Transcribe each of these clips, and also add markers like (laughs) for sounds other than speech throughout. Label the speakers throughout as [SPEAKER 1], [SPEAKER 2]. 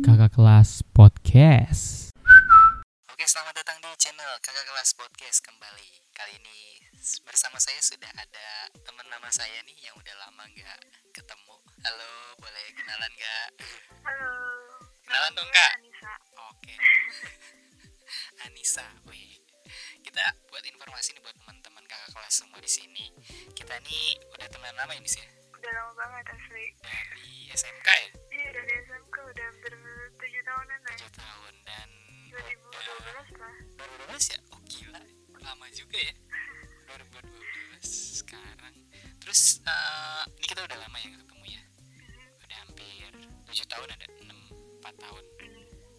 [SPEAKER 1] Kakak Kelas Podcast.
[SPEAKER 2] Oke, selamat datang di channel Kakak Kelas Podcast kembali. Kali ini s- bersama saya sudah ada teman lama saya nih yang udah lama nggak ketemu. Halo, boleh kenalan nggak?
[SPEAKER 3] Halo.
[SPEAKER 2] Kenalan dong,
[SPEAKER 3] Namanya
[SPEAKER 2] Kak.
[SPEAKER 3] Anissa.
[SPEAKER 2] Oke. (laughs) Anissa, wih. Kita buat informasi nih buat teman-teman kakak kelas semua di sini. Kita nih udah teman lama ya, Miss ya?
[SPEAKER 3] Udah lama banget asli.
[SPEAKER 2] Dari SMK ya,
[SPEAKER 3] Iya dari SMK udah hampir 7 tahunan ya.
[SPEAKER 2] 7 tahun dan
[SPEAKER 3] 2012 lah.
[SPEAKER 2] 2012 ya? Oh gila, lama juga ya 2012 sekarang Terus eh, ini kita udah lama ya nggak ketemu ya Udah hampir 7 tahun ada 6, 4 tahun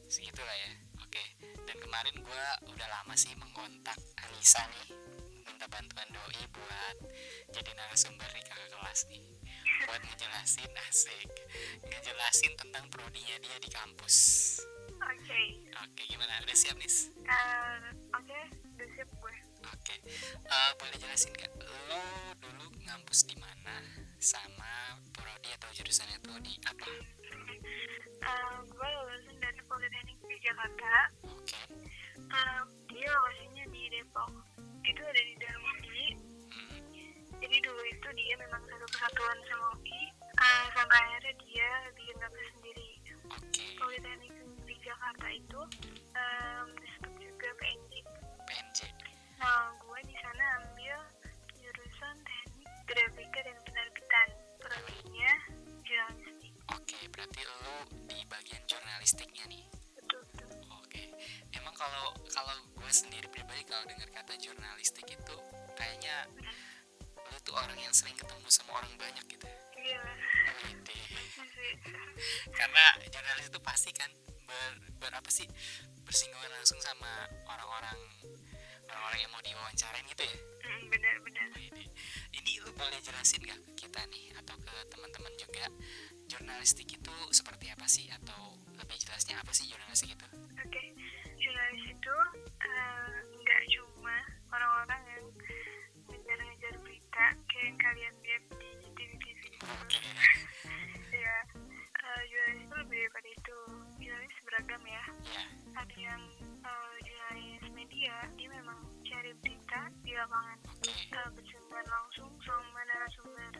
[SPEAKER 2] Segitulah ya Oke, dan kemarin gua udah lama sih mengkontak Anissa nih Minta bantuan doi buat jadi narasumber di kakak kelas nih Buat ngejelasin asik Ngejelasin tentang prodinya dia di kampus
[SPEAKER 3] Oke.
[SPEAKER 2] Oke gimana, udah siap nih?
[SPEAKER 3] Eh, Oke, udah siap gue. (laughs)
[SPEAKER 2] Oke, Eh, boleh jelasin gak? Lo dulu ngampus di mana? Sama prodi atau jurusannya tuh di apa?
[SPEAKER 3] Eh, gue lulusan dari Politeknik di Jakarta.
[SPEAKER 2] Oke,
[SPEAKER 3] Eh, dia lokasinya di Depok. Itu ada di dalam UI.
[SPEAKER 2] Hmm,
[SPEAKER 3] Jadi dulu itu dia memang satu kesatuan sama UI. Eh, sampai akhirnya dia bikin kampus sendiri.
[SPEAKER 2] oke.
[SPEAKER 3] Politeknik di Jakarta itu um, disebut juga PNJ.
[SPEAKER 2] PNJ.
[SPEAKER 3] Nah, gue di sana ambil jurusan teknik grafika dan penerbitan. Prodinya jurnalistik.
[SPEAKER 2] Oke, berarti lo di bagian jurnalistiknya nih.
[SPEAKER 3] Betul betul.
[SPEAKER 2] Oke, emang kalau kalau gue sendiri pribadi kalau dengar kata jurnalistik itu kayaknya lo tuh orang yang sering ketemu sama orang banyak gitu. ya.
[SPEAKER 3] Iya,
[SPEAKER 2] Widih.
[SPEAKER 3] masih.
[SPEAKER 2] karena jurnalis itu pasti kan ber, ber- apa sih bersinggungan langsung sama orang-orang orang-orang yang mau diwawancarain gitu ya
[SPEAKER 3] Mm, Benar-benar.
[SPEAKER 2] ini ini lu boleh jelasin gak ke kita nih atau ke teman-teman juga jurnalistik itu seperti apa sih atau lebih jelasnya apa sih jurnalistik itu
[SPEAKER 3] Oke, jurnalis itu eh, nggak cuma orang-orang yang ngejar-ngejar berita kayak yang kalian lihat di TV-TV gitu.
[SPEAKER 2] oke
[SPEAKER 3] Ya, eh, jurnalis itu lebih daripada itu. Jurnalis beragam ya.
[SPEAKER 2] (laughs) ya
[SPEAKER 3] Ada yang eh, jurnalis media, dia memang cari berita di lapangan,
[SPEAKER 2] oke
[SPEAKER 3] eh, berjumpa langsung sama narasumber.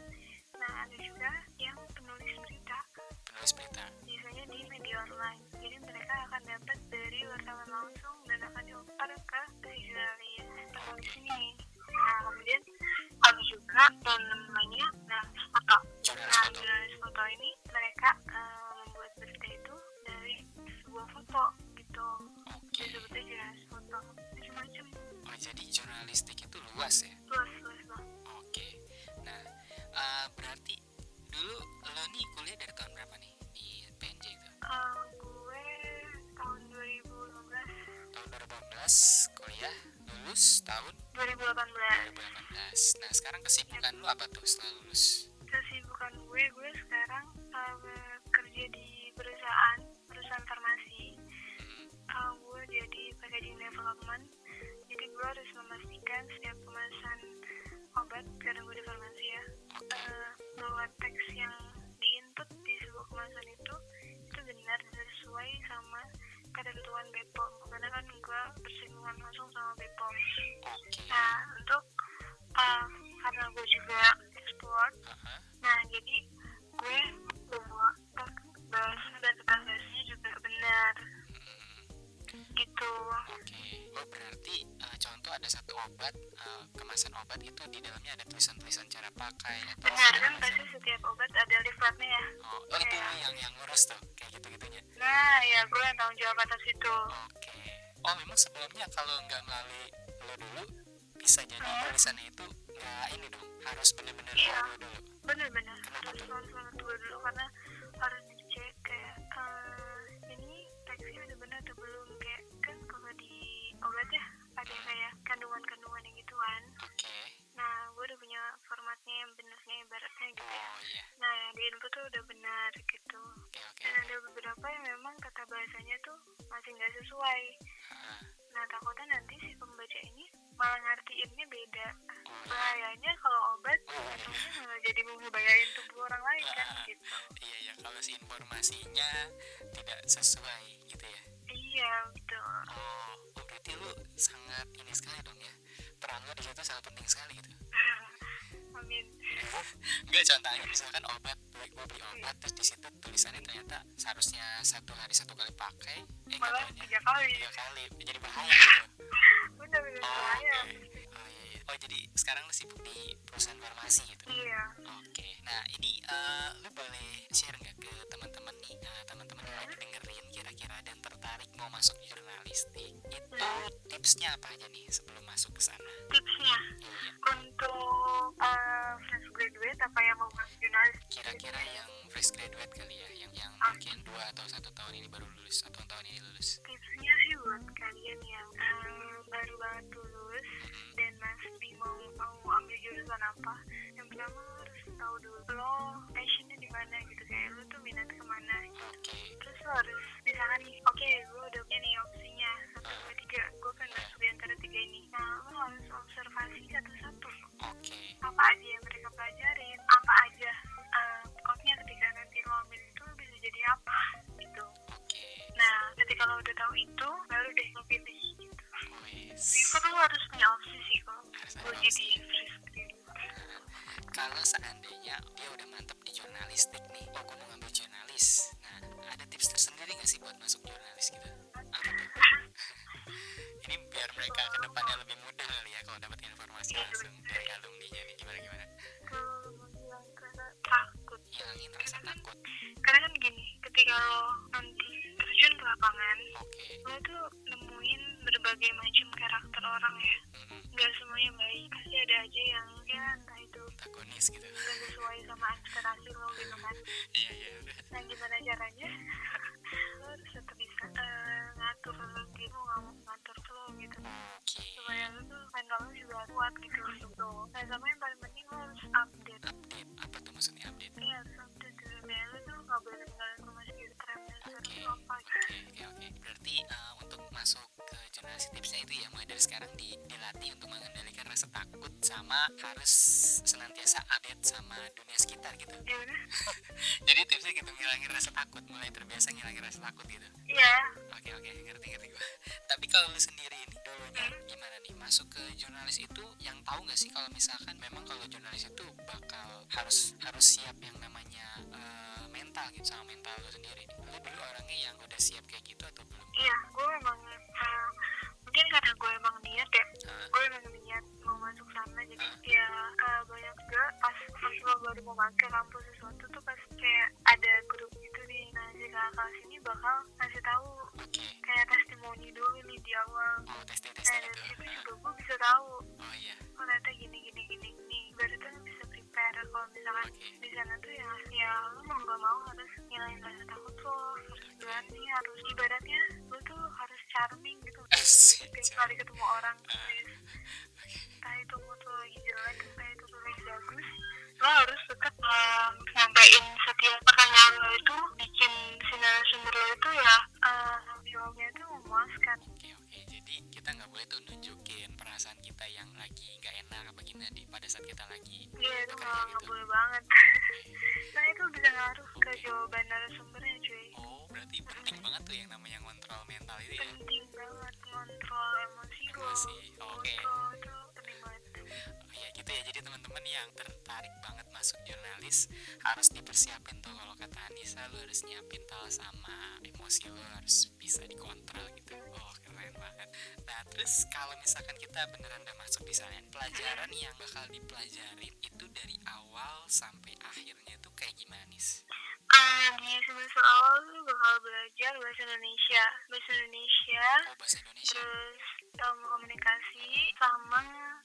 [SPEAKER 3] Nah, ada juga yang penulis berita,
[SPEAKER 2] penulis berita
[SPEAKER 3] biasanya di media online. Jadi mereka akan dapat dari wartawan langsung dan akan diumpar ke si jurnalis penulis ini. Nah, kemudian ada juga yang namanya jurnalis foto.
[SPEAKER 2] jurnalis
[SPEAKER 3] Nah,
[SPEAKER 2] foto
[SPEAKER 3] jurnalis foto ini mereka eh, membuat berita itu dari sebuah foto gitu.
[SPEAKER 2] oke
[SPEAKER 3] Disebutnya jurnalis foto. Itu Semacam
[SPEAKER 2] oh jadi jurnalistik itu luas ya
[SPEAKER 3] luas luas banget.
[SPEAKER 2] oke nah eh, berarti dulu lo nih kuliah dari tahun berapa nih di PNJ itu
[SPEAKER 3] Eh, gue tahun 2015,
[SPEAKER 2] tahun 2018 kuliah lulus tahun
[SPEAKER 3] 2018.
[SPEAKER 2] 2018 nah sekarang kesibukan lu apa tuh setelah lulus
[SPEAKER 3] Kesibukan gue, gue sekarang eh, kerja di perusahaan perusahaan farmasi.
[SPEAKER 2] Hmm,
[SPEAKER 3] Uh, gue jadi packaging development jadi gue harus memastikan setiap kemasan obat karena gue di farmasi ya
[SPEAKER 2] oke
[SPEAKER 3] uh, bahwa teks yang diinput di sebuah kemasan itu itu benar dan sesuai sama ketentuan BPOM karena kan gue bersinggungan langsung sama BPOM
[SPEAKER 2] oke
[SPEAKER 3] nah untuk uh, karena gue juga ekspor
[SPEAKER 2] Aha,
[SPEAKER 3] Nah, jadi gue bawa bahasa dan bahasanya juga benar
[SPEAKER 2] hmm,
[SPEAKER 3] gitu.
[SPEAKER 2] oke oh berarti eh, contoh ada satu obat eh, kemasan obat itu di dalamnya ada tulisan-tulisan cara pakai atau
[SPEAKER 3] Benar
[SPEAKER 2] segala
[SPEAKER 3] kan
[SPEAKER 2] macam.
[SPEAKER 3] pasti setiap obat ada leafletnya ya.
[SPEAKER 2] oh, oh, itu
[SPEAKER 3] Iya.
[SPEAKER 2] yang yang ngurus tuh kayak gitu gitunya
[SPEAKER 3] Nah, ya gue yang tanggung jawab atas itu.
[SPEAKER 2] oke oh memang sebelumnya kalau nggak melalui lo dulu bisa jadi
[SPEAKER 3] Hmm.
[SPEAKER 2] tulisannya itu nggak ini dong harus bener-bener
[SPEAKER 3] Iya.
[SPEAKER 2] lo dulu
[SPEAKER 3] Benar-benar harus konsul gue dulu karena harus dicek kayak eh, ini teksnya udah benar atau belum kayak kan kalau di obat ya ada kayak kandungan-kandungan yang gituan.
[SPEAKER 2] oke
[SPEAKER 3] Nah, gue udah punya formatnya yang benernya ibaratnya gitu ya.
[SPEAKER 2] oh iya
[SPEAKER 3] Nah, yang di input tuh udah benar gitu.
[SPEAKER 2] oke oke
[SPEAKER 3] Dan ada beberapa yang memang kata bahasanya tuh masih nggak sesuai.
[SPEAKER 2] Ah.
[SPEAKER 3] Nah, takutnya nanti si pembaca ini malah ngertiinnya beda.
[SPEAKER 2] Oh, iya.
[SPEAKER 3] Bahayanya kalau obat, tentunya malah jadi membahayain tubuh orang lain kan gitu.
[SPEAKER 2] Iya ya kalau si iya. informasinya tidak tidak sesuai gitu ya
[SPEAKER 3] iya betul (laughs)
[SPEAKER 2] oh, oh berarti lu sangat ini sekali dong ya peran lu di situ sangat penting sekali gitu
[SPEAKER 3] amin
[SPEAKER 2] Enggak contohnya misalkan obat gue gue beli obat terus di situ tulisannya ternyata seharusnya satu hari satu kali pakai eh
[SPEAKER 3] malah
[SPEAKER 2] katanya
[SPEAKER 3] tiga kali
[SPEAKER 2] tiga kali jadi bahaya gitu
[SPEAKER 3] udah bener
[SPEAKER 2] oh,
[SPEAKER 3] bahaya
[SPEAKER 2] oke. oh, iya, iya. oh jadi sekarang lu sibuk di perusahaan farmasi gitu
[SPEAKER 3] iya
[SPEAKER 2] Oke, nah ini eh, lu boleh share nggak ke teman-teman nih, eh, teman-teman yang lagi dengerin kira-kira dan tertarik mau masuk jurnalistik, itu tipsnya apa aja nih sebelum masuk ke sana?
[SPEAKER 3] tipsnya
[SPEAKER 2] Iya,
[SPEAKER 3] untuk eh, fresh graduate apa yang mau masuk jurnalistik
[SPEAKER 2] kira-kira yang fresh graduate kali ya, yang yang
[SPEAKER 3] Ah.
[SPEAKER 2] mungkin dua atau satu tahun ini baru lulus, atau tahun ini lulus.
[SPEAKER 3] tipsnya sih buat kalian yang eh, baru banget lulus
[SPEAKER 2] Mm-hmm.
[SPEAKER 3] dan masih bingung mau ambil jurusan apa yang pertama lo harus tahu dulu lo passionnya di mana gitu kayak lo tuh minat kemana gitu.
[SPEAKER 2] Oke,
[SPEAKER 3] terus lo harus misalkan nih oke gue udah punya nih opsinya satu
[SPEAKER 2] eh,
[SPEAKER 3] dua tiga gue pengen masuk di antara tiga ini nah lo harus observasi satu-satu
[SPEAKER 2] oke,
[SPEAKER 3] apa aja yang mereka pelajarin apa aja eh, pokoknya ketika nanti lo ambil itu lo bisa jadi apa gitu
[SPEAKER 2] oke,
[SPEAKER 3] nah ketika lo udah tahu itu baru deh lo pilih gitu
[SPEAKER 2] wes.
[SPEAKER 3] Vivo tuh harus punya opsi sih kalau
[SPEAKER 2] Harus ada opsi.
[SPEAKER 3] mau Oh, jadi free screen
[SPEAKER 2] Kalau seandainya dia udah mantep di jurnalistik nih, oh gue mau ngambil jurnalis. Nah, ada tips tersendiri nggak sih buat masuk jurnalis gitu? Apa tuh? (laughs) ini biar mereka ke depannya lebih mudah kali ya kalau dapat informasi
[SPEAKER 3] Iya,
[SPEAKER 2] langsung
[SPEAKER 3] bener.
[SPEAKER 2] dari alumni jadi gimana gimana
[SPEAKER 3] kalau bilang karena takut
[SPEAKER 2] hilangin rasa takut
[SPEAKER 3] karena kan gini ketika lo nanti terjun ke lapangan
[SPEAKER 2] oke
[SPEAKER 3] lo tuh nemuin berbagai macam karakter orang ya
[SPEAKER 2] Mm-mm.
[SPEAKER 3] nggak semuanya baik pasti ada aja yang ya entah itu
[SPEAKER 2] antagonis gitu (laughs)
[SPEAKER 3] nggak sesuai sama ekspektasi lo gitu kan
[SPEAKER 2] iya iya udah.
[SPEAKER 3] nah gimana caranya lo harus tetap bisa eh, ngatur lo gitu nggak ngatur lo gitu
[SPEAKER 2] oke
[SPEAKER 3] supaya lu tuh mental lu juga kuat gitu gitu nah sama yang paling penting lu harus update
[SPEAKER 2] update apa tuh maksudnya update
[SPEAKER 3] ini harus update dulu biar lu tuh gak boleh ketinggalan informasi gitu tren
[SPEAKER 2] oke
[SPEAKER 3] dasar
[SPEAKER 2] oke
[SPEAKER 3] lu apa gitu
[SPEAKER 2] oke oke berarti eh, untuk masuk ke jurnalis tipsnya itu ya mulai dari sekarang di, dilatih untuk mengendalikan rasa takut sama harus senantiasa update sama dunia sekitar gitu
[SPEAKER 3] gimana?
[SPEAKER 2] jadi tipsnya gitu ngilangin rasa takut mulai terbiasa ngilangin rasa takut gitu
[SPEAKER 3] iya
[SPEAKER 2] Oke oke ngerti ngerti gue. (laughs) Tapi kalau lu sendiri ini dulunya gimana nih masuk ke jurnalis itu yang tahu nggak sih kalau misalkan memang kalau jurnalis itu bakal harus harus siap yang namanya eh, mental gitu sama mental lu sendiri. Lu dulu orangnya yang udah siap kayak gitu atau belum?
[SPEAKER 3] iya gue emang eh, mungkin karena gue emang niat ya
[SPEAKER 2] Hah?
[SPEAKER 3] gue emang niat mau masuk sana jadi ya eh, banyak juga pas pas lo baru mau masuk ke kampus sesuatu tuh pas kayak ada grup gitu nih nah si kakak sini bakal ngasih tahu
[SPEAKER 2] Oke.
[SPEAKER 3] kayak testimoni dulu nih di awal
[SPEAKER 2] Oh tes tes
[SPEAKER 3] Nah, dari
[SPEAKER 2] gitu.
[SPEAKER 3] situ
[SPEAKER 2] Hah?
[SPEAKER 3] juga gue bisa tahu
[SPEAKER 2] Oh iya.
[SPEAKER 3] oh ternyata gini gini gini gini baru tuh lu bisa prepare kalau misalkan
[SPEAKER 2] Oke.
[SPEAKER 3] di sana tuh ya ya lu mau gak mau harus ngilangin rasa takut lo harus berani harus ibaratnya lu tuh harus charming gitu
[SPEAKER 2] Asik,
[SPEAKER 3] tiap
[SPEAKER 2] Cak.
[SPEAKER 3] kali ketemu orang please
[SPEAKER 2] Ah. Oke.
[SPEAKER 3] entah itu mood lo lagi jelek entah itu lo lagi bagus lo harus tetap um, nyampein setiap pertanyaan lo itu bikin si narasumber lo itu ya eh, jawabnya itu memuaskan
[SPEAKER 2] Oke oke. Jadi kita nggak boleh tuh nunjukin perasaan kita yang lagi nggak enak apa gimana di pada saat kita lagi
[SPEAKER 3] Iya itu
[SPEAKER 2] bekerja
[SPEAKER 3] nggak nggak
[SPEAKER 2] gitu.
[SPEAKER 3] boleh banget. (laughs) nah itu bisa ngaruh ke
[SPEAKER 2] Oke.
[SPEAKER 3] jawaban narasumbernya cuy.
[SPEAKER 2] Oh berarti penting banget tuh yang namanya kontrol mental itu ya.
[SPEAKER 3] Penting banget kontrol emosi lo.
[SPEAKER 2] Emosi, oke.
[SPEAKER 3] Kontrol itu penting banget.
[SPEAKER 2] Oh ya gitu ya jadi teman-teman yang tertarik banget masuk jurnalis harus dipersiapin tuh kalau kata Anissa lu harus nyiapin tal sama emosi lu harus bisa dikontrol gitu oh keren banget nah terus kalau misalkan kita beneran udah masuk di sana pelajaran yang bakal dipelajarin itu dari awal sampai akhirnya tuh kayak gimana nih
[SPEAKER 3] Ah, di semester awal lu bakal belajar bahasa Indonesia, bahasa Indonesia,
[SPEAKER 2] oh bahasa Indonesia
[SPEAKER 3] terus ilmu komunikasi sama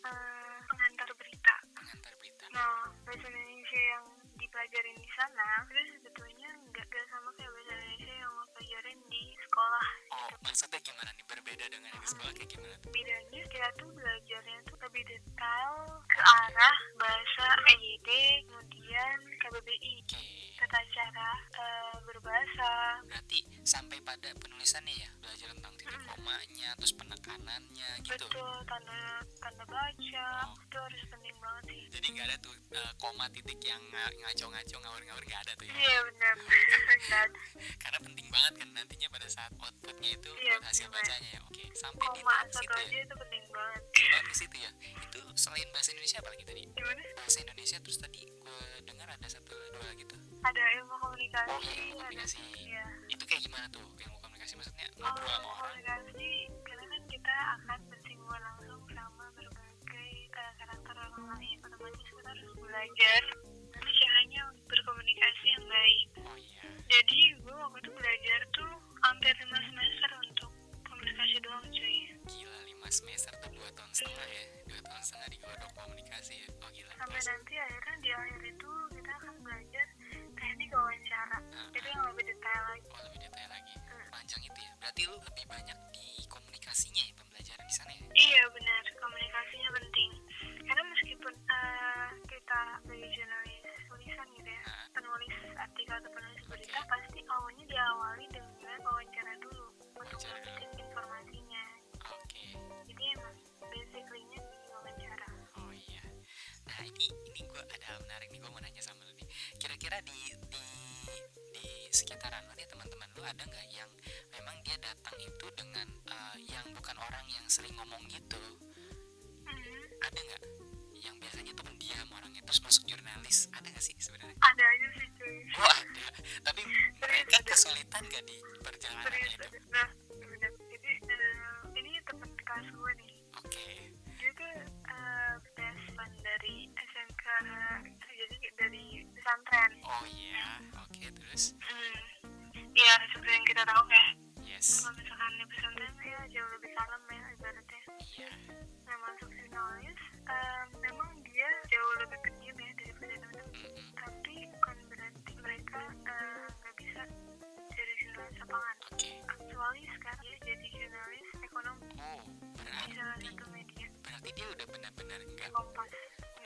[SPEAKER 3] eh, pengantar berita.
[SPEAKER 2] pengantar berita
[SPEAKER 3] Nah, bahasa Indonesia yang dipelajarin di sana itu sebetulnya nggak nggak sama kayak bahasa Indonesia yang lo pelajarin di sekolah.
[SPEAKER 2] oh maksudnya gimana nih berbeda dengan yang di sekolah kayak gimana tuh
[SPEAKER 3] Bedanya kita tuh belajarnya tuh lebih detail ke arah bahasa EYD, E kemudian KBBI.
[SPEAKER 2] oke
[SPEAKER 3] Tata upacara eh, berbahasa
[SPEAKER 2] berarti sampai pada penulisannya ya belajar tentang titik komanya terus penekanannya gitu
[SPEAKER 3] Hmm. betul tanda tanda baca
[SPEAKER 2] Oh.
[SPEAKER 3] itu harus penting banget sih
[SPEAKER 2] jadi nggak ada tuh eh, koma titik yang nga- ngaco-ngaco ngawur-ngawur nggak ada tuh ya
[SPEAKER 3] iya (laughs) benar benar
[SPEAKER 2] karena penting banget kan nantinya pada saat outputnya itu
[SPEAKER 3] Iya,
[SPEAKER 2] hasil
[SPEAKER 3] bener.
[SPEAKER 2] bacanya ya oke sampai di
[SPEAKER 3] koma
[SPEAKER 2] tahap
[SPEAKER 3] satu
[SPEAKER 2] situ
[SPEAKER 3] aja
[SPEAKER 2] ya
[SPEAKER 3] itu penting banget
[SPEAKER 2] Coba ke situ ya itu selain bahasa Indonesia apa lagi tadi
[SPEAKER 3] gimana
[SPEAKER 2] bahasa Indonesia terus tadi gue dengar ada satu dua gitu. lagi tuh
[SPEAKER 3] ada ilmu
[SPEAKER 2] Oh,
[SPEAKER 3] komunikasi
[SPEAKER 2] ilmu
[SPEAKER 3] ada
[SPEAKER 2] komunikasi.
[SPEAKER 3] iya
[SPEAKER 2] itu kayak gimana tuh ilmu komunikasi maksudnya
[SPEAKER 3] Oh,
[SPEAKER 2] ngobrol sama orang
[SPEAKER 3] komunikasi karena kan kita akan bersinggungan langsung sama berbagai eh, karakter orang lain otomatis kita harus belajar gimana caranya untuk berkomunikasi yang baik
[SPEAKER 2] oh iya
[SPEAKER 3] jadi gue waktu itu belajar tuh hampir lima semester untuk komunikasi doang cuy
[SPEAKER 2] gila lima semester tuh dua tahun setengah ya dua tahun setengah digodok komunikasi ya oh gila
[SPEAKER 3] sampai
[SPEAKER 2] terus
[SPEAKER 3] nanti akhirnya di akhir itu kita akan belajar teknik wawancara jadi yang lebih detail lagi
[SPEAKER 2] oh lebih detail lagi
[SPEAKER 3] Hmm.
[SPEAKER 2] panjang itu ya berarti lu lebih banyak di komunikasinya ya pembelajaran di sana ya
[SPEAKER 3] Iya benar, komunikasinya penting. Karena meskipun eh, kita sebagai jurnalis tulisan gitu ya,
[SPEAKER 2] Nah.
[SPEAKER 3] penulis artikel atau penulis berita pasti awalnya diawali dengan wawancara dulu untuk
[SPEAKER 2] Wawancara dulu.
[SPEAKER 3] mengutip informasinya.
[SPEAKER 2] oke
[SPEAKER 3] Jadi emang basically-nya di wawancara.
[SPEAKER 2] Oh iya. Nah ini ini gue ada hal menarik nih gue mau nanya sama lu nih. Kira-kira di di di sekitaran lu nih teman-teman lu ada nggak yang memang dia datang itu dengan eh, yang bukan orang yang sering ngomong gitu?
[SPEAKER 3] Mhm.
[SPEAKER 2] Ada nggak? Yang biasanya tuh pendiam orangnya terus masuk jurnalis ada nggak sih sebenarnya?
[SPEAKER 3] Ada aja sih cuy.
[SPEAKER 2] Wah ada. Tapi mereka kesulitan gak di perjalanan
[SPEAKER 3] Serius
[SPEAKER 2] itu?
[SPEAKER 3] ada. Nah, benar. Jadi eh, ini teman kelas gue nih.
[SPEAKER 2] Oke.
[SPEAKER 3] Dia tuh eh, best friend dari SMK, jadi dari pesantren.
[SPEAKER 2] Oh iya. Oke terus.
[SPEAKER 3] Hmm, Iya, seperti yang kita tahu kayak
[SPEAKER 2] Yes.
[SPEAKER 3] kalau misalkan di pesantren ya jauh lebih kalem ya ibaratnya.
[SPEAKER 2] Iya.
[SPEAKER 3] Nah masuk jurnalis, em, memang dia jauh lebih pendiam ya daripada teman-teman.
[SPEAKER 2] Mm-mm.
[SPEAKER 3] Tapi bukan berarti mereka eh, nggak bisa jadi jurnalis lapangan.
[SPEAKER 2] Oke.
[SPEAKER 3] Aktualis sekarang dia jadi jurnalis ekonomi
[SPEAKER 2] Oh
[SPEAKER 3] di salah
[SPEAKER 2] berarti
[SPEAKER 3] satu media
[SPEAKER 2] berarti dia udah benar-benar nggak
[SPEAKER 3] Kompas.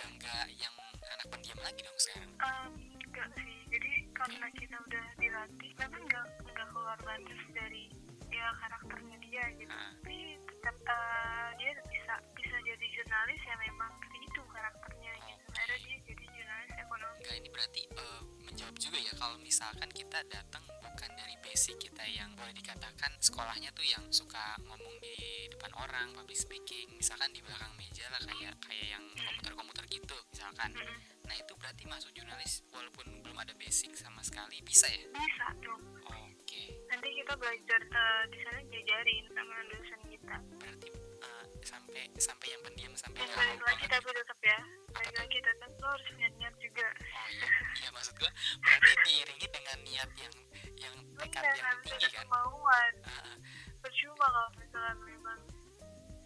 [SPEAKER 2] udah nggak yang anak pendiam lagi dong sekarang
[SPEAKER 3] Em, enggak sih, jadi karena kita udah dilatih, memang nggak nggak keluar batas dari ya karakternya dia gitu.
[SPEAKER 2] Ah,
[SPEAKER 3] tapi tetap eh, dia bisa bisa jadi jurnalis ya memang itu karakternya gitu
[SPEAKER 2] Hmm.
[SPEAKER 3] ada dia jadi jurnalis ekonomi
[SPEAKER 2] nggak ini berarti eh, menjawab juga ya kalau misalkan kita datang bukan dari basic kita yang boleh dikatakan sekolahnya tuh yang suka ngomong di depan orang public speaking misalkan di belakang meja lah kayak kayak yang komputer komputer gitu misalkan
[SPEAKER 3] Mm-mm.
[SPEAKER 2] nah itu berarti masuk jurnalis walaupun belum ada basic sama sekali bisa ya
[SPEAKER 3] bisa dong
[SPEAKER 2] oke
[SPEAKER 3] nanti kita belajar eh, di sana diajarin sama dosen kita
[SPEAKER 2] berarti eh, sampai sampai yang pendiam sampai yang
[SPEAKER 3] dan balik lagi
[SPEAKER 2] ngomong
[SPEAKER 3] tapi tetap ya balik lagi tetap lo harus punya niat juga
[SPEAKER 2] Oh iya, iya maksud gua berarti diiringi dengan niat yang yang
[SPEAKER 3] lo
[SPEAKER 2] tekad
[SPEAKER 3] nggak
[SPEAKER 2] yang
[SPEAKER 3] harus
[SPEAKER 2] tinggi
[SPEAKER 3] ada
[SPEAKER 2] kan.
[SPEAKER 3] kemauan
[SPEAKER 2] Ah,
[SPEAKER 3] percuma kalau misalnya memang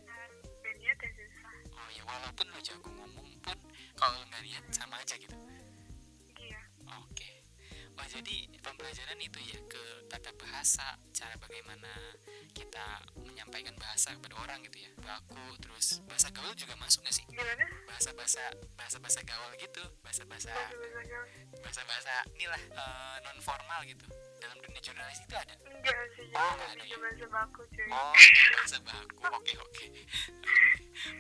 [SPEAKER 3] eh, dan niat ya susah
[SPEAKER 2] oh iya, walaupun lu jago ngomong pun kalau lu nggak niat sama aja gitu.
[SPEAKER 3] iya
[SPEAKER 2] Oke. Wah jadi pembelajaran itu ya ke tata bahasa, cara bagaimana kita menyampaikan bahasa kepada orang gitu ya. Baku terus bahasa gaul juga masuk nggak sih?
[SPEAKER 3] gimana
[SPEAKER 2] Bahasa bahasa bahasa bahasa gaul gitu, bahasa bahasa
[SPEAKER 3] Bahasa-bahasa.
[SPEAKER 2] bahasa bahasa inilah eh, non formal gitu. Dalam dunia jurnalis itu ada.
[SPEAKER 3] enggak sih
[SPEAKER 2] Oh,
[SPEAKER 3] jadi
[SPEAKER 2] nggak ada
[SPEAKER 3] lebih
[SPEAKER 2] ya?
[SPEAKER 3] bahasa baku cuy
[SPEAKER 2] Oh, bahasa baku. Oke, oke.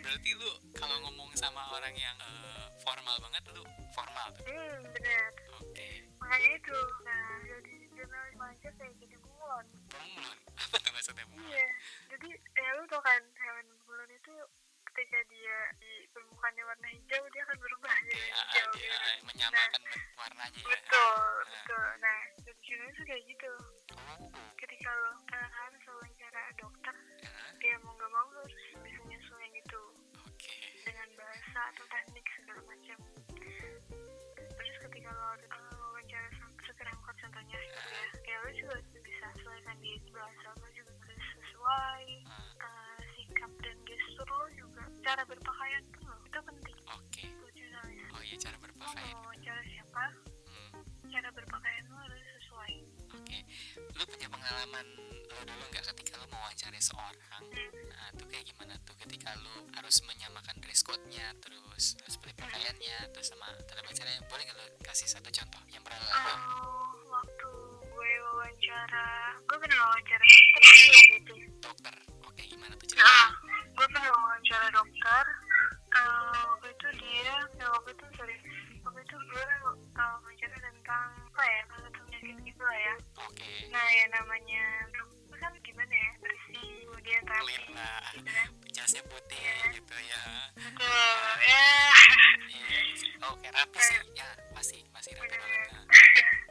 [SPEAKER 2] Berarti lu kalau ngomong sama orang yang eh, formal banget lu formal tuh.
[SPEAKER 3] hmm benar
[SPEAKER 2] Oke.
[SPEAKER 3] makanya itu nah jadi jurnalis aja kayak jadi bulan
[SPEAKER 2] Bunglon. Apa tuh maksudnya bunglon?
[SPEAKER 3] iya jadi ya lu tau kan hewan bulan itu ketika dia di permukaannya warna hijau dia akan berubah jadi
[SPEAKER 2] Dia,
[SPEAKER 3] hijau
[SPEAKER 2] Iya, dia
[SPEAKER 3] gitu
[SPEAKER 2] menyamakan ben- warnanya ya.
[SPEAKER 3] betul
[SPEAKER 2] Nah.
[SPEAKER 3] betul nah jadi jurnalis tuh kayak gitu
[SPEAKER 2] Oh.
[SPEAKER 3] ketika lo karena harus wawancara dokter
[SPEAKER 2] ya,
[SPEAKER 3] ya mau gak mau lo harus bisa nyesuaiin itu
[SPEAKER 2] Oke.
[SPEAKER 3] dengan bahasa atau teknik segala macam terus ketika lo uh, wawancara sama supir angkot contohnya gitu ya ya lo juga bisa sesuaikan di bahasa lo juga harus sesuai
[SPEAKER 2] Ah,
[SPEAKER 3] uh, sikap dan gestur lo juga cara berpakaian pun lo itu penting
[SPEAKER 2] Oke.
[SPEAKER 3] buat jurnalis
[SPEAKER 2] Oh iya cara
[SPEAKER 3] lo
[SPEAKER 2] berpakaian.
[SPEAKER 3] mau wawancara siapa
[SPEAKER 2] Hmm,
[SPEAKER 3] cara berpakaian lo harus sesuai
[SPEAKER 2] Oke. Lu punya pengalaman lu dulu nggak ketika lu mau wawancara seorang?
[SPEAKER 3] Hmm.
[SPEAKER 2] Nah, tuh kayak gimana tuh ketika lu harus menyamakan dress code-nya terus terus beli pakaiannya terus sama tanda bacaranya boleh nggak lu kasih satu contoh yang pernah lu lakuin?
[SPEAKER 3] Kalau wawancara gue pernah wawancara dokter sih waktu itu
[SPEAKER 2] dokter oke gimana tuh
[SPEAKER 3] ah
[SPEAKER 2] ceritanya
[SPEAKER 3] gue pernah wawancara dokter Eh, waktu itu dia ya waktu itu sorry waktu itu gue eh, wawancara tentang apa ya kalau penyakit gitu lah ya
[SPEAKER 2] oke
[SPEAKER 3] nah ya namanya dokter kan gimana ya bersih kemudian rapi
[SPEAKER 2] clear lah
[SPEAKER 3] gitu kan
[SPEAKER 2] jasnya putih gitu ya
[SPEAKER 3] betul ya
[SPEAKER 2] Iya, oke rapi sih ya masih masih rapi banget nah.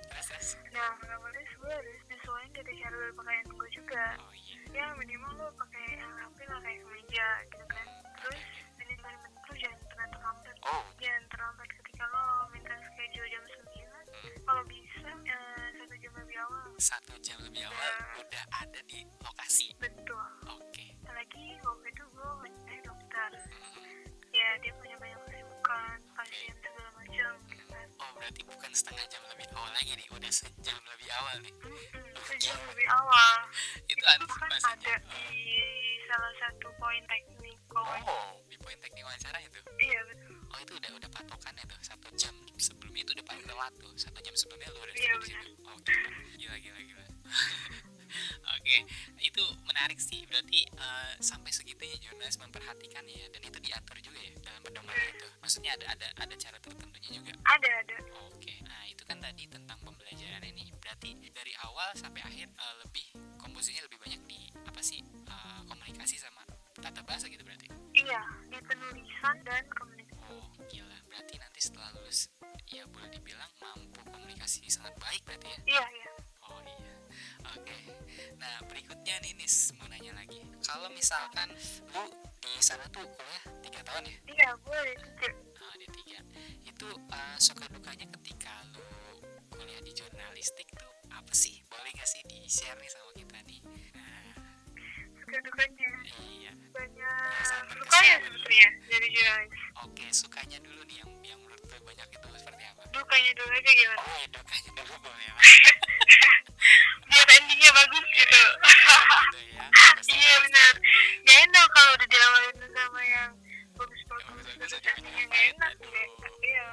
[SPEAKER 2] terus terus
[SPEAKER 3] nah otomatis gue harus nyesuaiin dari cara berpakaian gue juga
[SPEAKER 2] oh iya
[SPEAKER 3] ya minimal lo pakai yang rapi lah kayak kemeja gitu kan terus ini paling penting lo jangan pernah terlambat
[SPEAKER 2] oh
[SPEAKER 3] jangan terlambat ketika lo minta schedule jam 9 kalau bisa eh, satu jam lebih awal
[SPEAKER 2] satu jam lebih awal udah ada di lokasi
[SPEAKER 3] betul
[SPEAKER 2] oke
[SPEAKER 3] apalagi waktu itu gue mencari dokter
[SPEAKER 2] Hmm.
[SPEAKER 3] ya dia punya banyak kesibukan pasien segala macam gitu kan
[SPEAKER 2] oh berarti bukan setengah jam lebih awal lagi nih udah sejam lebih awal nih
[SPEAKER 3] Mm-mm, sejam lebih awal
[SPEAKER 2] itu ya?
[SPEAKER 3] itu kan ada
[SPEAKER 2] antisipasinya
[SPEAKER 3] di salah satu poin teknik wawancara.
[SPEAKER 2] oh di poin teknik wawancara itu
[SPEAKER 3] iya betul
[SPEAKER 2] oh itu udah udah patokannya tuh satu jam sebelumnya itu udah paling telat tuh satu jam sebelumnya lu udah
[SPEAKER 3] Iya,
[SPEAKER 2] sampai di situ oh gila gila gila, gila. (laughs) oke itu menarik sih berarti eh, sampai segitunya Jonas memperhatikan ya dan itu diatur juga ya dalam pedoman
[SPEAKER 3] Iya.
[SPEAKER 2] itu maksudnya ada ada ada cara tertentunya juga
[SPEAKER 3] ada ada
[SPEAKER 2] Oke, nah itu kan tadi tentang pembelajaran ini. Berarti dari awal sampai akhir eh, lebih komposisinya lebih banyak di apa sih eh, komunikasi sama tata bahasa gitu berarti.
[SPEAKER 3] Iya, di penulisan dan komunikasi.
[SPEAKER 2] Oh gila, berarti nanti setelah lulus ya boleh dibilang mampu komunikasi sangat baik berarti ya.
[SPEAKER 3] Iya, iya.
[SPEAKER 2] Oh iya, oke. Nah berikutnya nih Nis mau nanya lagi. Kalau misalkan lu di sana tuh kuliah tiga tahun ya?
[SPEAKER 3] Iya, boleh. Cek.
[SPEAKER 2] Nah, ada tiga itu eh, suka dukanya ketika lu kuliah di jurnalistik tuh apa sih boleh gak sih di share nih sama kita nih nah,
[SPEAKER 3] Suka dukanya.
[SPEAKER 2] iya
[SPEAKER 3] Banyak suka ya sebetulnya dari jurnalis.
[SPEAKER 2] oke sukanya dulu nih yang yang menurut lu banyak itu seperti apa
[SPEAKER 3] Dukanya dulu aja gimana?
[SPEAKER 2] oh iya dukanya dulu boleh ya. apa
[SPEAKER 3] Biar endingnya bagus gitu.
[SPEAKER 2] gitu ya Bahasa
[SPEAKER 3] iya benar. Gak enak kalau udah diawalin sama yang bagus-bagus
[SPEAKER 2] Bagus-bagus
[SPEAKER 3] terus
[SPEAKER 2] aja
[SPEAKER 3] endingnya gak
[SPEAKER 2] menyampaikan,
[SPEAKER 3] enak
[SPEAKER 2] aduh.
[SPEAKER 3] deh. Iya.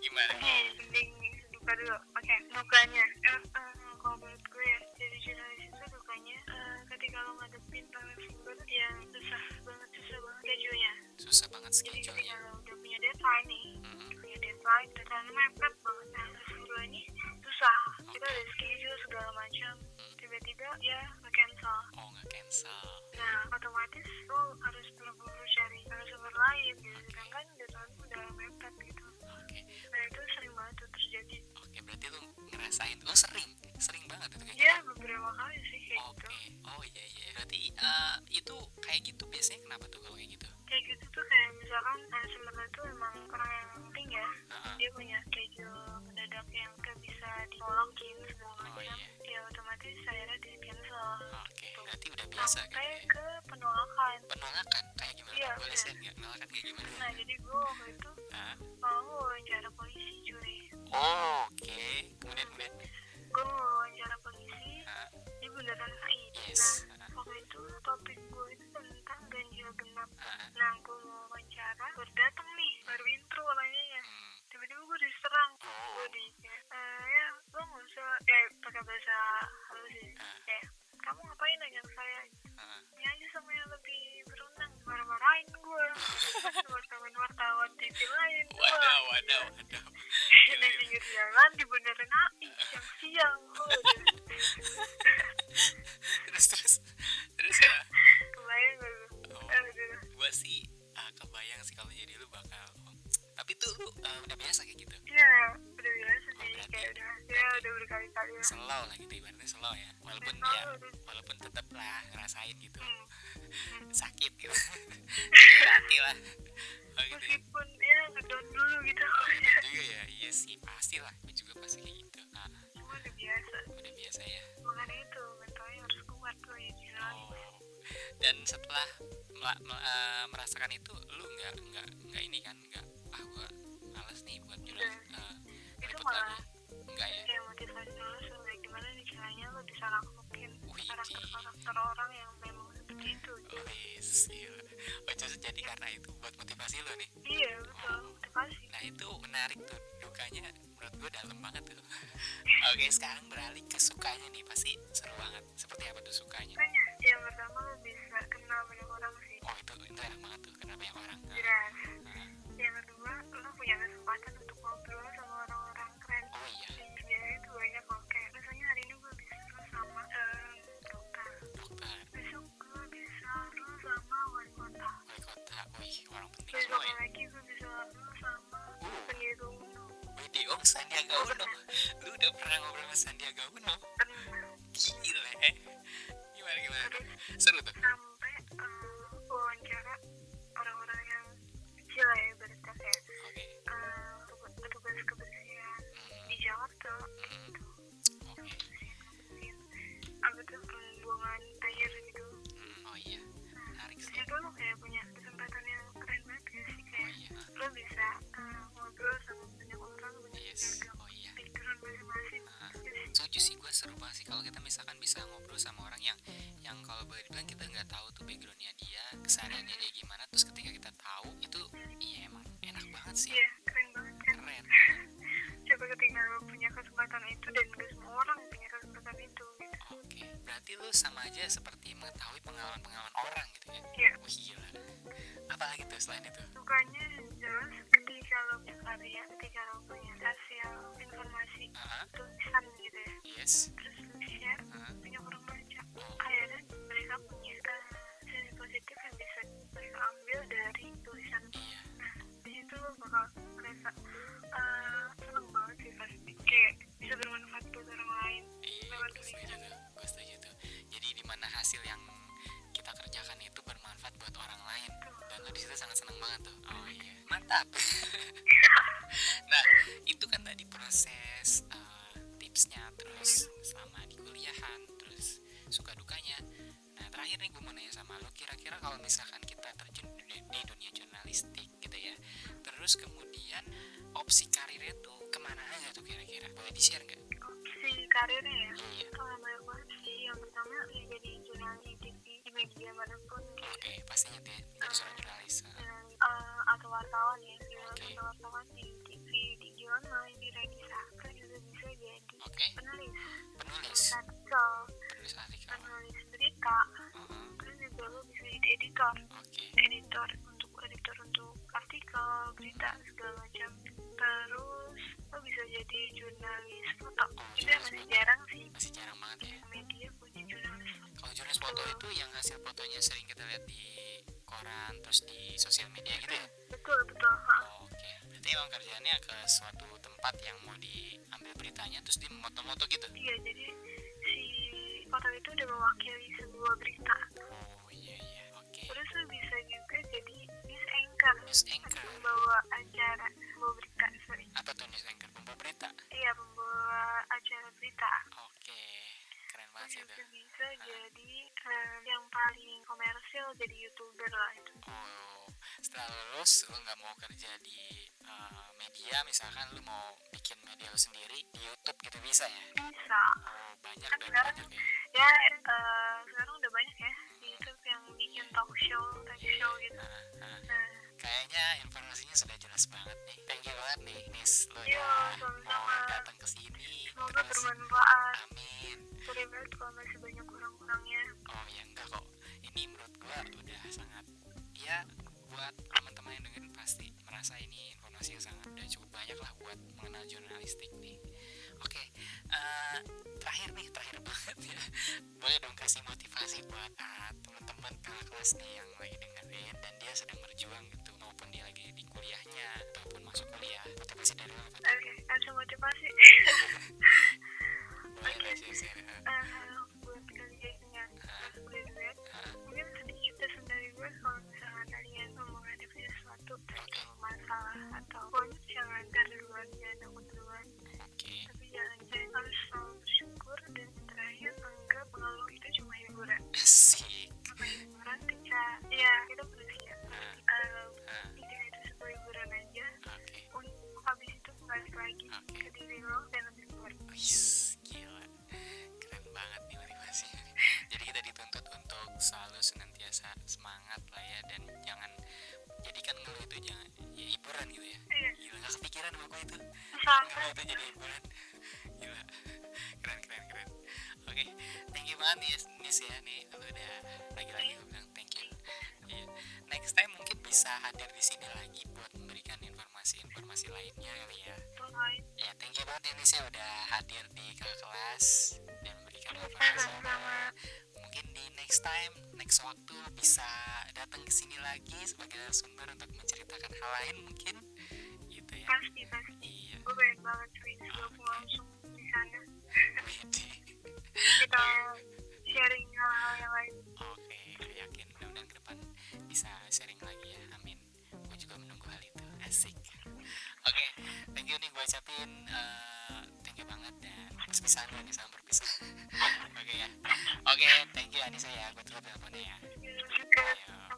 [SPEAKER 2] gimana
[SPEAKER 3] Nih, ending duka dulu. Oke, dukanya. Eh, eh, kalau menurut gue ya, jadi jurnalis itu dukanya eh, ketika lo ngadepin para sumber yang susah banget, susah banget schedule-nya.
[SPEAKER 2] susah banget
[SPEAKER 3] jadi ketika
[SPEAKER 2] schedule-nya
[SPEAKER 3] lo udah punya deadline nih udah punya deadline deadline mepet banget nah schedule ini susah kita ada schedule segala macam tiba-tiba ya cancel
[SPEAKER 2] oh nggak cancel
[SPEAKER 3] nah otomatis lo harus buru-buru cari narasumber lain gitu. sedangkan deadline lu udah mepet gitu
[SPEAKER 2] oke
[SPEAKER 3] nah itu sering banget tuh terjadi
[SPEAKER 2] oke berarti lu ngerasain oh sering sering banget itu gitu. kayaknya
[SPEAKER 3] ya beberapa kali sih kayak
[SPEAKER 2] Oke,
[SPEAKER 3] gitu
[SPEAKER 2] oh iya iya. Berarti eh, itu kayak gitu biasanya kenapa tuh kalau kayak gitu?
[SPEAKER 3] kayak gitu tuh kayak misalkan narasumber lo tuh emang orang yang penting ya
[SPEAKER 2] Heeh.
[SPEAKER 3] dia punya schedule mendadak yang gak bisa dipolokin segala
[SPEAKER 2] Oh,
[SPEAKER 3] macam
[SPEAKER 2] iya.
[SPEAKER 3] ya otomatis akhirnya di cancel Gitu.
[SPEAKER 2] Oke, berarti udah biasa kan
[SPEAKER 3] sampai
[SPEAKER 2] ya?
[SPEAKER 3] ke penolakan
[SPEAKER 2] Penolakan kayak gimana?
[SPEAKER 3] Iya,
[SPEAKER 2] Boleh
[SPEAKER 3] iya.
[SPEAKER 2] share nggak? Penolakan kayak gimana?
[SPEAKER 3] nah jadi gue waktu itu
[SPEAKER 2] Hah?
[SPEAKER 3] mau wawancara polisi cuy
[SPEAKER 2] Oh, oke. Kemudian kemudian.
[SPEAKER 3] gue mau wawancara polisi
[SPEAKER 2] Hah?
[SPEAKER 3] di bundaran HI
[SPEAKER 2] Yes.
[SPEAKER 3] nah waktu itu topik gue itu tentang ganjil genap
[SPEAKER 2] Hah?
[SPEAKER 3] nah gue mau wawancara baru dateng nih baru intro nanyanya
[SPEAKER 2] Hmm.
[SPEAKER 3] tiba-tiba gue diserang
[SPEAKER 2] Oh.
[SPEAKER 3] gue di eh, ya lo nggak usah eh pakai bahasa halus sih
[SPEAKER 2] Ah.
[SPEAKER 3] kayak kamu ngapain nanya ke saya
[SPEAKER 2] Hah?
[SPEAKER 3] ini aja sama yang lebih berundang marah-marahin gue wartawan-wartawan TV lain gue
[SPEAKER 2] Waduh, waduh, waduh.
[SPEAKER 3] di pinggir jalan di bundaran api siang-siang gue
[SPEAKER 2] terus terus terus ya.
[SPEAKER 3] kebayang gue
[SPEAKER 2] Oh,
[SPEAKER 3] Eh, udah.
[SPEAKER 2] gua sih ah, kebayang sih kalau jadi lu bakal. Tapi tuh lu eh, udah biasa kayak gitu.
[SPEAKER 3] ya udah biasa sih
[SPEAKER 2] Iya,
[SPEAKER 3] kayak udah ya udah berkali-kali lah
[SPEAKER 2] Slow lah gitu ibaratnya slow ya. Walaupun
[SPEAKER 3] Slow,
[SPEAKER 2] ya,
[SPEAKER 3] udah.
[SPEAKER 2] walaupun tetap lah ngerasain gitu.
[SPEAKER 3] Hmm.
[SPEAKER 2] sakit gitu berarti lah oh gitu ya.
[SPEAKER 3] meskipun ya ngedown dulu gitu (laughs)
[SPEAKER 2] juga ya iya sih pasti lah gue juga pasti kayak gitu ah
[SPEAKER 3] cuma udah biasa
[SPEAKER 2] udah biasa ya
[SPEAKER 3] makanya itu mentalnya harus kuat loh ya jalan
[SPEAKER 2] oh dan setelah mela- mel- eh, merasakan itu lu nggak nggak nggak ini kan nggak ah gue males nih buat jurnal eh,
[SPEAKER 3] itu
[SPEAKER 2] repot
[SPEAKER 3] malah
[SPEAKER 2] lagi enggak ya
[SPEAKER 3] kayak motivasi lo sebagai gimana nih caranya lo bisa rangkumin
[SPEAKER 2] Wih, Ah.
[SPEAKER 3] karakter-karakter orang yang memang seperti itu gitu.
[SPEAKER 2] Wis, gila. iya Oh, justru jadi karena itu buat motivasi lo nih
[SPEAKER 3] iya betul motivasi
[SPEAKER 2] Nah itu menarik tuh Dukanya menurut gue dalam banget tuh Oke oke sekarang beralih ke sukanya nih pasti seru banget seperti apa tuh sukanya
[SPEAKER 3] Banyak. Yang pertama lo bisa kenal banyak orang sih.
[SPEAKER 2] oh itu itu enak banget tuh kenapa banyak orang Ah,
[SPEAKER 3] Jelas.
[SPEAKER 2] ah.
[SPEAKER 3] Yang kedua, lo punya kesempatan untuk ngobrol sama orang-orang keren.
[SPEAKER 2] oh iya
[SPEAKER 3] Dan Biasanya itu banyak kok. Kayak misalnya hari ini gue bisa terus sama eh, dokter.
[SPEAKER 2] dokter
[SPEAKER 3] Besok gue bisa terus sama wali kota.
[SPEAKER 2] wali kota wih orang penting
[SPEAKER 3] Besok
[SPEAKER 2] semua ya
[SPEAKER 3] lagi gue bisa terus sama pendiri umum.
[SPEAKER 2] Wede oh Sandiaga Uno lu udah pernah ngobrol sama Sandiaga Uno
[SPEAKER 3] Tenang.
[SPEAKER 2] gile gimana gimana tuh? seru tuh
[SPEAKER 3] sampai eh, wawancara orang-orang yang kecil ya berita kayak
[SPEAKER 2] oke
[SPEAKER 3] eh, petu- petugas kebersihan
[SPEAKER 2] Hmm,
[SPEAKER 3] dijawab tuh
[SPEAKER 2] hmm. oke
[SPEAKER 3] kebersihan apa tuh pembuangan air gitu
[SPEAKER 2] Hmm, oh iya menarik
[SPEAKER 3] Terus
[SPEAKER 2] sih
[SPEAKER 3] itu lo kayak punya kesempatan yang keren banget ya sih
[SPEAKER 2] oh
[SPEAKER 3] kayak
[SPEAKER 2] iya
[SPEAKER 3] lo bisa eh, ngobrol sama banyak orang banyak
[SPEAKER 2] yes
[SPEAKER 3] yang
[SPEAKER 2] oh iya
[SPEAKER 3] pikiran masing-masing Iya
[SPEAKER 2] Ah.
[SPEAKER 3] Terus
[SPEAKER 2] setuju sih gue seru banget sih kalau kita misalkan bisa ngobrol sama orang yang yang kalau boleh dibilang kita nggak tahu tuh backgroundnya dia kesehariannya dia gimana terus ketika kita tahu itu iya emang enak banget sih
[SPEAKER 3] iya keren banget kan
[SPEAKER 2] keren
[SPEAKER 3] coba ketika lo punya kesempatan itu dan gak semua orang punya kesempatan itu gitu
[SPEAKER 2] oke berarti lu sama aja seperti mengetahui pengalaman pengalaman orang gitu ya
[SPEAKER 3] Iya.
[SPEAKER 2] wah gila apalagi tuh selain itu
[SPEAKER 3] Sukanya jelas ketika lo punya karya, ketika lo punya hasil informasi
[SPEAKER 2] Aha,
[SPEAKER 3] tulisan gitu ya
[SPEAKER 2] yes
[SPEAKER 3] Terus lo share,
[SPEAKER 2] Aha.
[SPEAKER 3] banyak orang baca
[SPEAKER 2] Oh,
[SPEAKER 3] Akhirnya mereka punya eh, sisi positif yang bisa mereka ambil dari tulisan
[SPEAKER 2] iya
[SPEAKER 3] Nah, di situ lo bakal merasa eh, seneng banget sih pasti Kayak bisa bermanfaat buat orang lain
[SPEAKER 2] iya
[SPEAKER 3] Lewat
[SPEAKER 2] gue setuju tuh gue setuju tuh jadi dimana hasil yang kita kerjakan itu bermanfaat buat orang lain dan lo disitu sangat senang banget tuh oh iya mantap (laughs) nah itu kan tadi proses eh, tipsnya terus selama di kuliahan terus suka dukanya nah terakhir nih gue mau nanya sama lo kira-kira kalau misalkan kita terjun di dunia- di dunia jurnalistik gitu ya terus kemudian opsi karirnya tuh kemana aja tuh kira-kira boleh di share nggak
[SPEAKER 3] Opsi karirnya ya
[SPEAKER 2] iya
[SPEAKER 3] Kalau banyak banget sih, yang pertama ya jadi jurnalis di, di media manapun gitu
[SPEAKER 2] Oke, pastinya dia jadi seorang jurnalis. Ah,
[SPEAKER 3] dengan eh, atau wartawan ya dengan
[SPEAKER 2] Oke.
[SPEAKER 3] atau wartawan di TV di jurnal di radio Saka juga bisa jadi
[SPEAKER 2] Oke,
[SPEAKER 3] penulis
[SPEAKER 2] penulis,
[SPEAKER 3] penulis artikel
[SPEAKER 2] penulis artikel.
[SPEAKER 3] penulis berita
[SPEAKER 2] Heeh,
[SPEAKER 3] terus juga lo bisa jadi editor
[SPEAKER 2] Oke,
[SPEAKER 3] editor untuk editor untuk artikel berita segala macam terus lo bisa jadi jurnalis foto itu yang masih jarang sih
[SPEAKER 2] masih jarang banget ya.
[SPEAKER 3] media punya jurnalis foto
[SPEAKER 2] Kalau jurnalis foto itu yang hasil fotonya sering kita lihat di koran, terus di sosial media gitu ya.
[SPEAKER 3] betul betul ha.
[SPEAKER 2] Oh, Oke, berarti emang kerjaannya ke suatu tempat yang mau diambil beritanya, terus dia moto-moto gitu.
[SPEAKER 3] Iya, jadi si foto itu udah mewakili sebuah berita.
[SPEAKER 2] Oh iya iya, oke.
[SPEAKER 3] Terus lu bisa juga jadi news anchor,
[SPEAKER 2] News
[SPEAKER 3] atau
[SPEAKER 2] anchor,
[SPEAKER 3] pembawa acara, pembawa berita, sorry.
[SPEAKER 2] apa tuh news anchor? Pembawa berita.
[SPEAKER 3] Iya, pembawa acara berita.
[SPEAKER 2] Oke, keren banget
[SPEAKER 3] Terus
[SPEAKER 2] sih itu.
[SPEAKER 3] juga bisa jadi em, yang paling komersil jadi youtuber lah itu.
[SPEAKER 2] Oh, setelah lulus lu nggak mau kerja di uh, media misalkan lu mau bikin media lu sendiri di YouTube gitu bisa ya?
[SPEAKER 3] Bisa.
[SPEAKER 2] Oh, banyak
[SPEAKER 3] Kan
[SPEAKER 2] dan
[SPEAKER 3] sekarang-
[SPEAKER 2] banyak ya.
[SPEAKER 3] Ya, eh, sekarang udah banyak ya di YouTube yang bikin talk show, talk show gitu.
[SPEAKER 2] Nah, nah,
[SPEAKER 3] Nah,
[SPEAKER 2] kayaknya informasinya sudah jelas banget nih. Thank you banget nih, Nis. Lu
[SPEAKER 3] Iya,
[SPEAKER 2] udah mau
[SPEAKER 3] sama-sama.
[SPEAKER 2] datang ke sini.
[SPEAKER 3] semoga
[SPEAKER 2] Terus,
[SPEAKER 3] bermanfaat.
[SPEAKER 2] amin.
[SPEAKER 3] Sorry banget kalau masih banyak kurang-kurangnya.
[SPEAKER 2] Oh ya enggak kok. Ini menurut gua udah sangat ya buat teman-teman yang dengerin pasti merasa ini informasi yang sangat udah cukup banyak lah buat mengenal jurnalistik nih. Oke, eh, terakhir nih, terakhir (laughs) banget ya. Boleh dong kasih motivasi buat ah, teman-teman kakak kelas nih yang lagi dengerin dan dia sedang berjuang gitu maupun dia lagi di kuliahnya ataupun masuk kuliah. Motivasi dari lo apa?
[SPEAKER 3] Oke, langsung motivasi.
[SPEAKER 2] Boleh dong share-share. eh,
[SPEAKER 3] Eh, buat kalian yang
[SPEAKER 2] eh,
[SPEAKER 3] harus graduate,
[SPEAKER 2] eh.
[SPEAKER 3] mungkin sedikit pesan dari gue kalau misalkan kalian mau menghadapi sesuatu atau masalah atau pun jangan duluan jangan takut duluan
[SPEAKER 2] Oke,
[SPEAKER 3] tapi jangan jangan harus selalu bersyukur dan terakhir anggap mengeluh itu cuma hiburan
[SPEAKER 2] asik.
[SPEAKER 3] apa hiburan kita ya kita manusia
[SPEAKER 2] Eh,
[SPEAKER 3] Eh,
[SPEAKER 2] eh,
[SPEAKER 3] jika itu sebuah hiburan aja
[SPEAKER 2] Oke.
[SPEAKER 3] untuk habis itu kembali lagi
[SPEAKER 2] Oke.
[SPEAKER 3] ke diri lo dan lebih kuat
[SPEAKER 2] Wis, gila. Keren banget nih motivasinya. nih. Jadi kita dituntut untuk selalu senantiasa semangat lah ya dan jangan jadikan ngeluh itu jangan ya hiburan gitu ya.
[SPEAKER 3] iya
[SPEAKER 2] Gila, gak kepikiran sama gue Nah, itu.
[SPEAKER 3] misalnya
[SPEAKER 2] Ngeluh itu jadi hiburan. Gila. nih Nis ya nih lu udah lagi-lagi gue bilang thank you Iya. next time mungkin bisa hadir di sini lagi buat memberikan informasi-informasi lainnya kali ya
[SPEAKER 3] Bye.
[SPEAKER 2] ya thank you banget ya Nis ya udah hadir di ke kelas dan memberikan informasi mungkin di next time next waktu bisa datang ke sini lagi sebagai sumber untuk menceritakan hal lain mungkin gitu ya
[SPEAKER 3] Pasti, pasti.
[SPEAKER 2] iya (laughs)
[SPEAKER 3] Gue pengen banget sih gue pulang langsung di sana.
[SPEAKER 2] Widih.
[SPEAKER 3] Kita sharing hal-hal yang lain.
[SPEAKER 2] Oke, gue yakin mudah-mudahan ke depan bisa sharing lagi ya. Amin. Gue juga menunggu hal itu. Asik. Oke, thank you nih gue ucapin eh, thank you banget dan perpisahan gue nih sama berpisah. (laughs) Oke ya. Oke, thank you Anissa ya. Gue tutup teleponnya ya.
[SPEAKER 3] Iya, Terima kasih.
[SPEAKER 2] Ayo.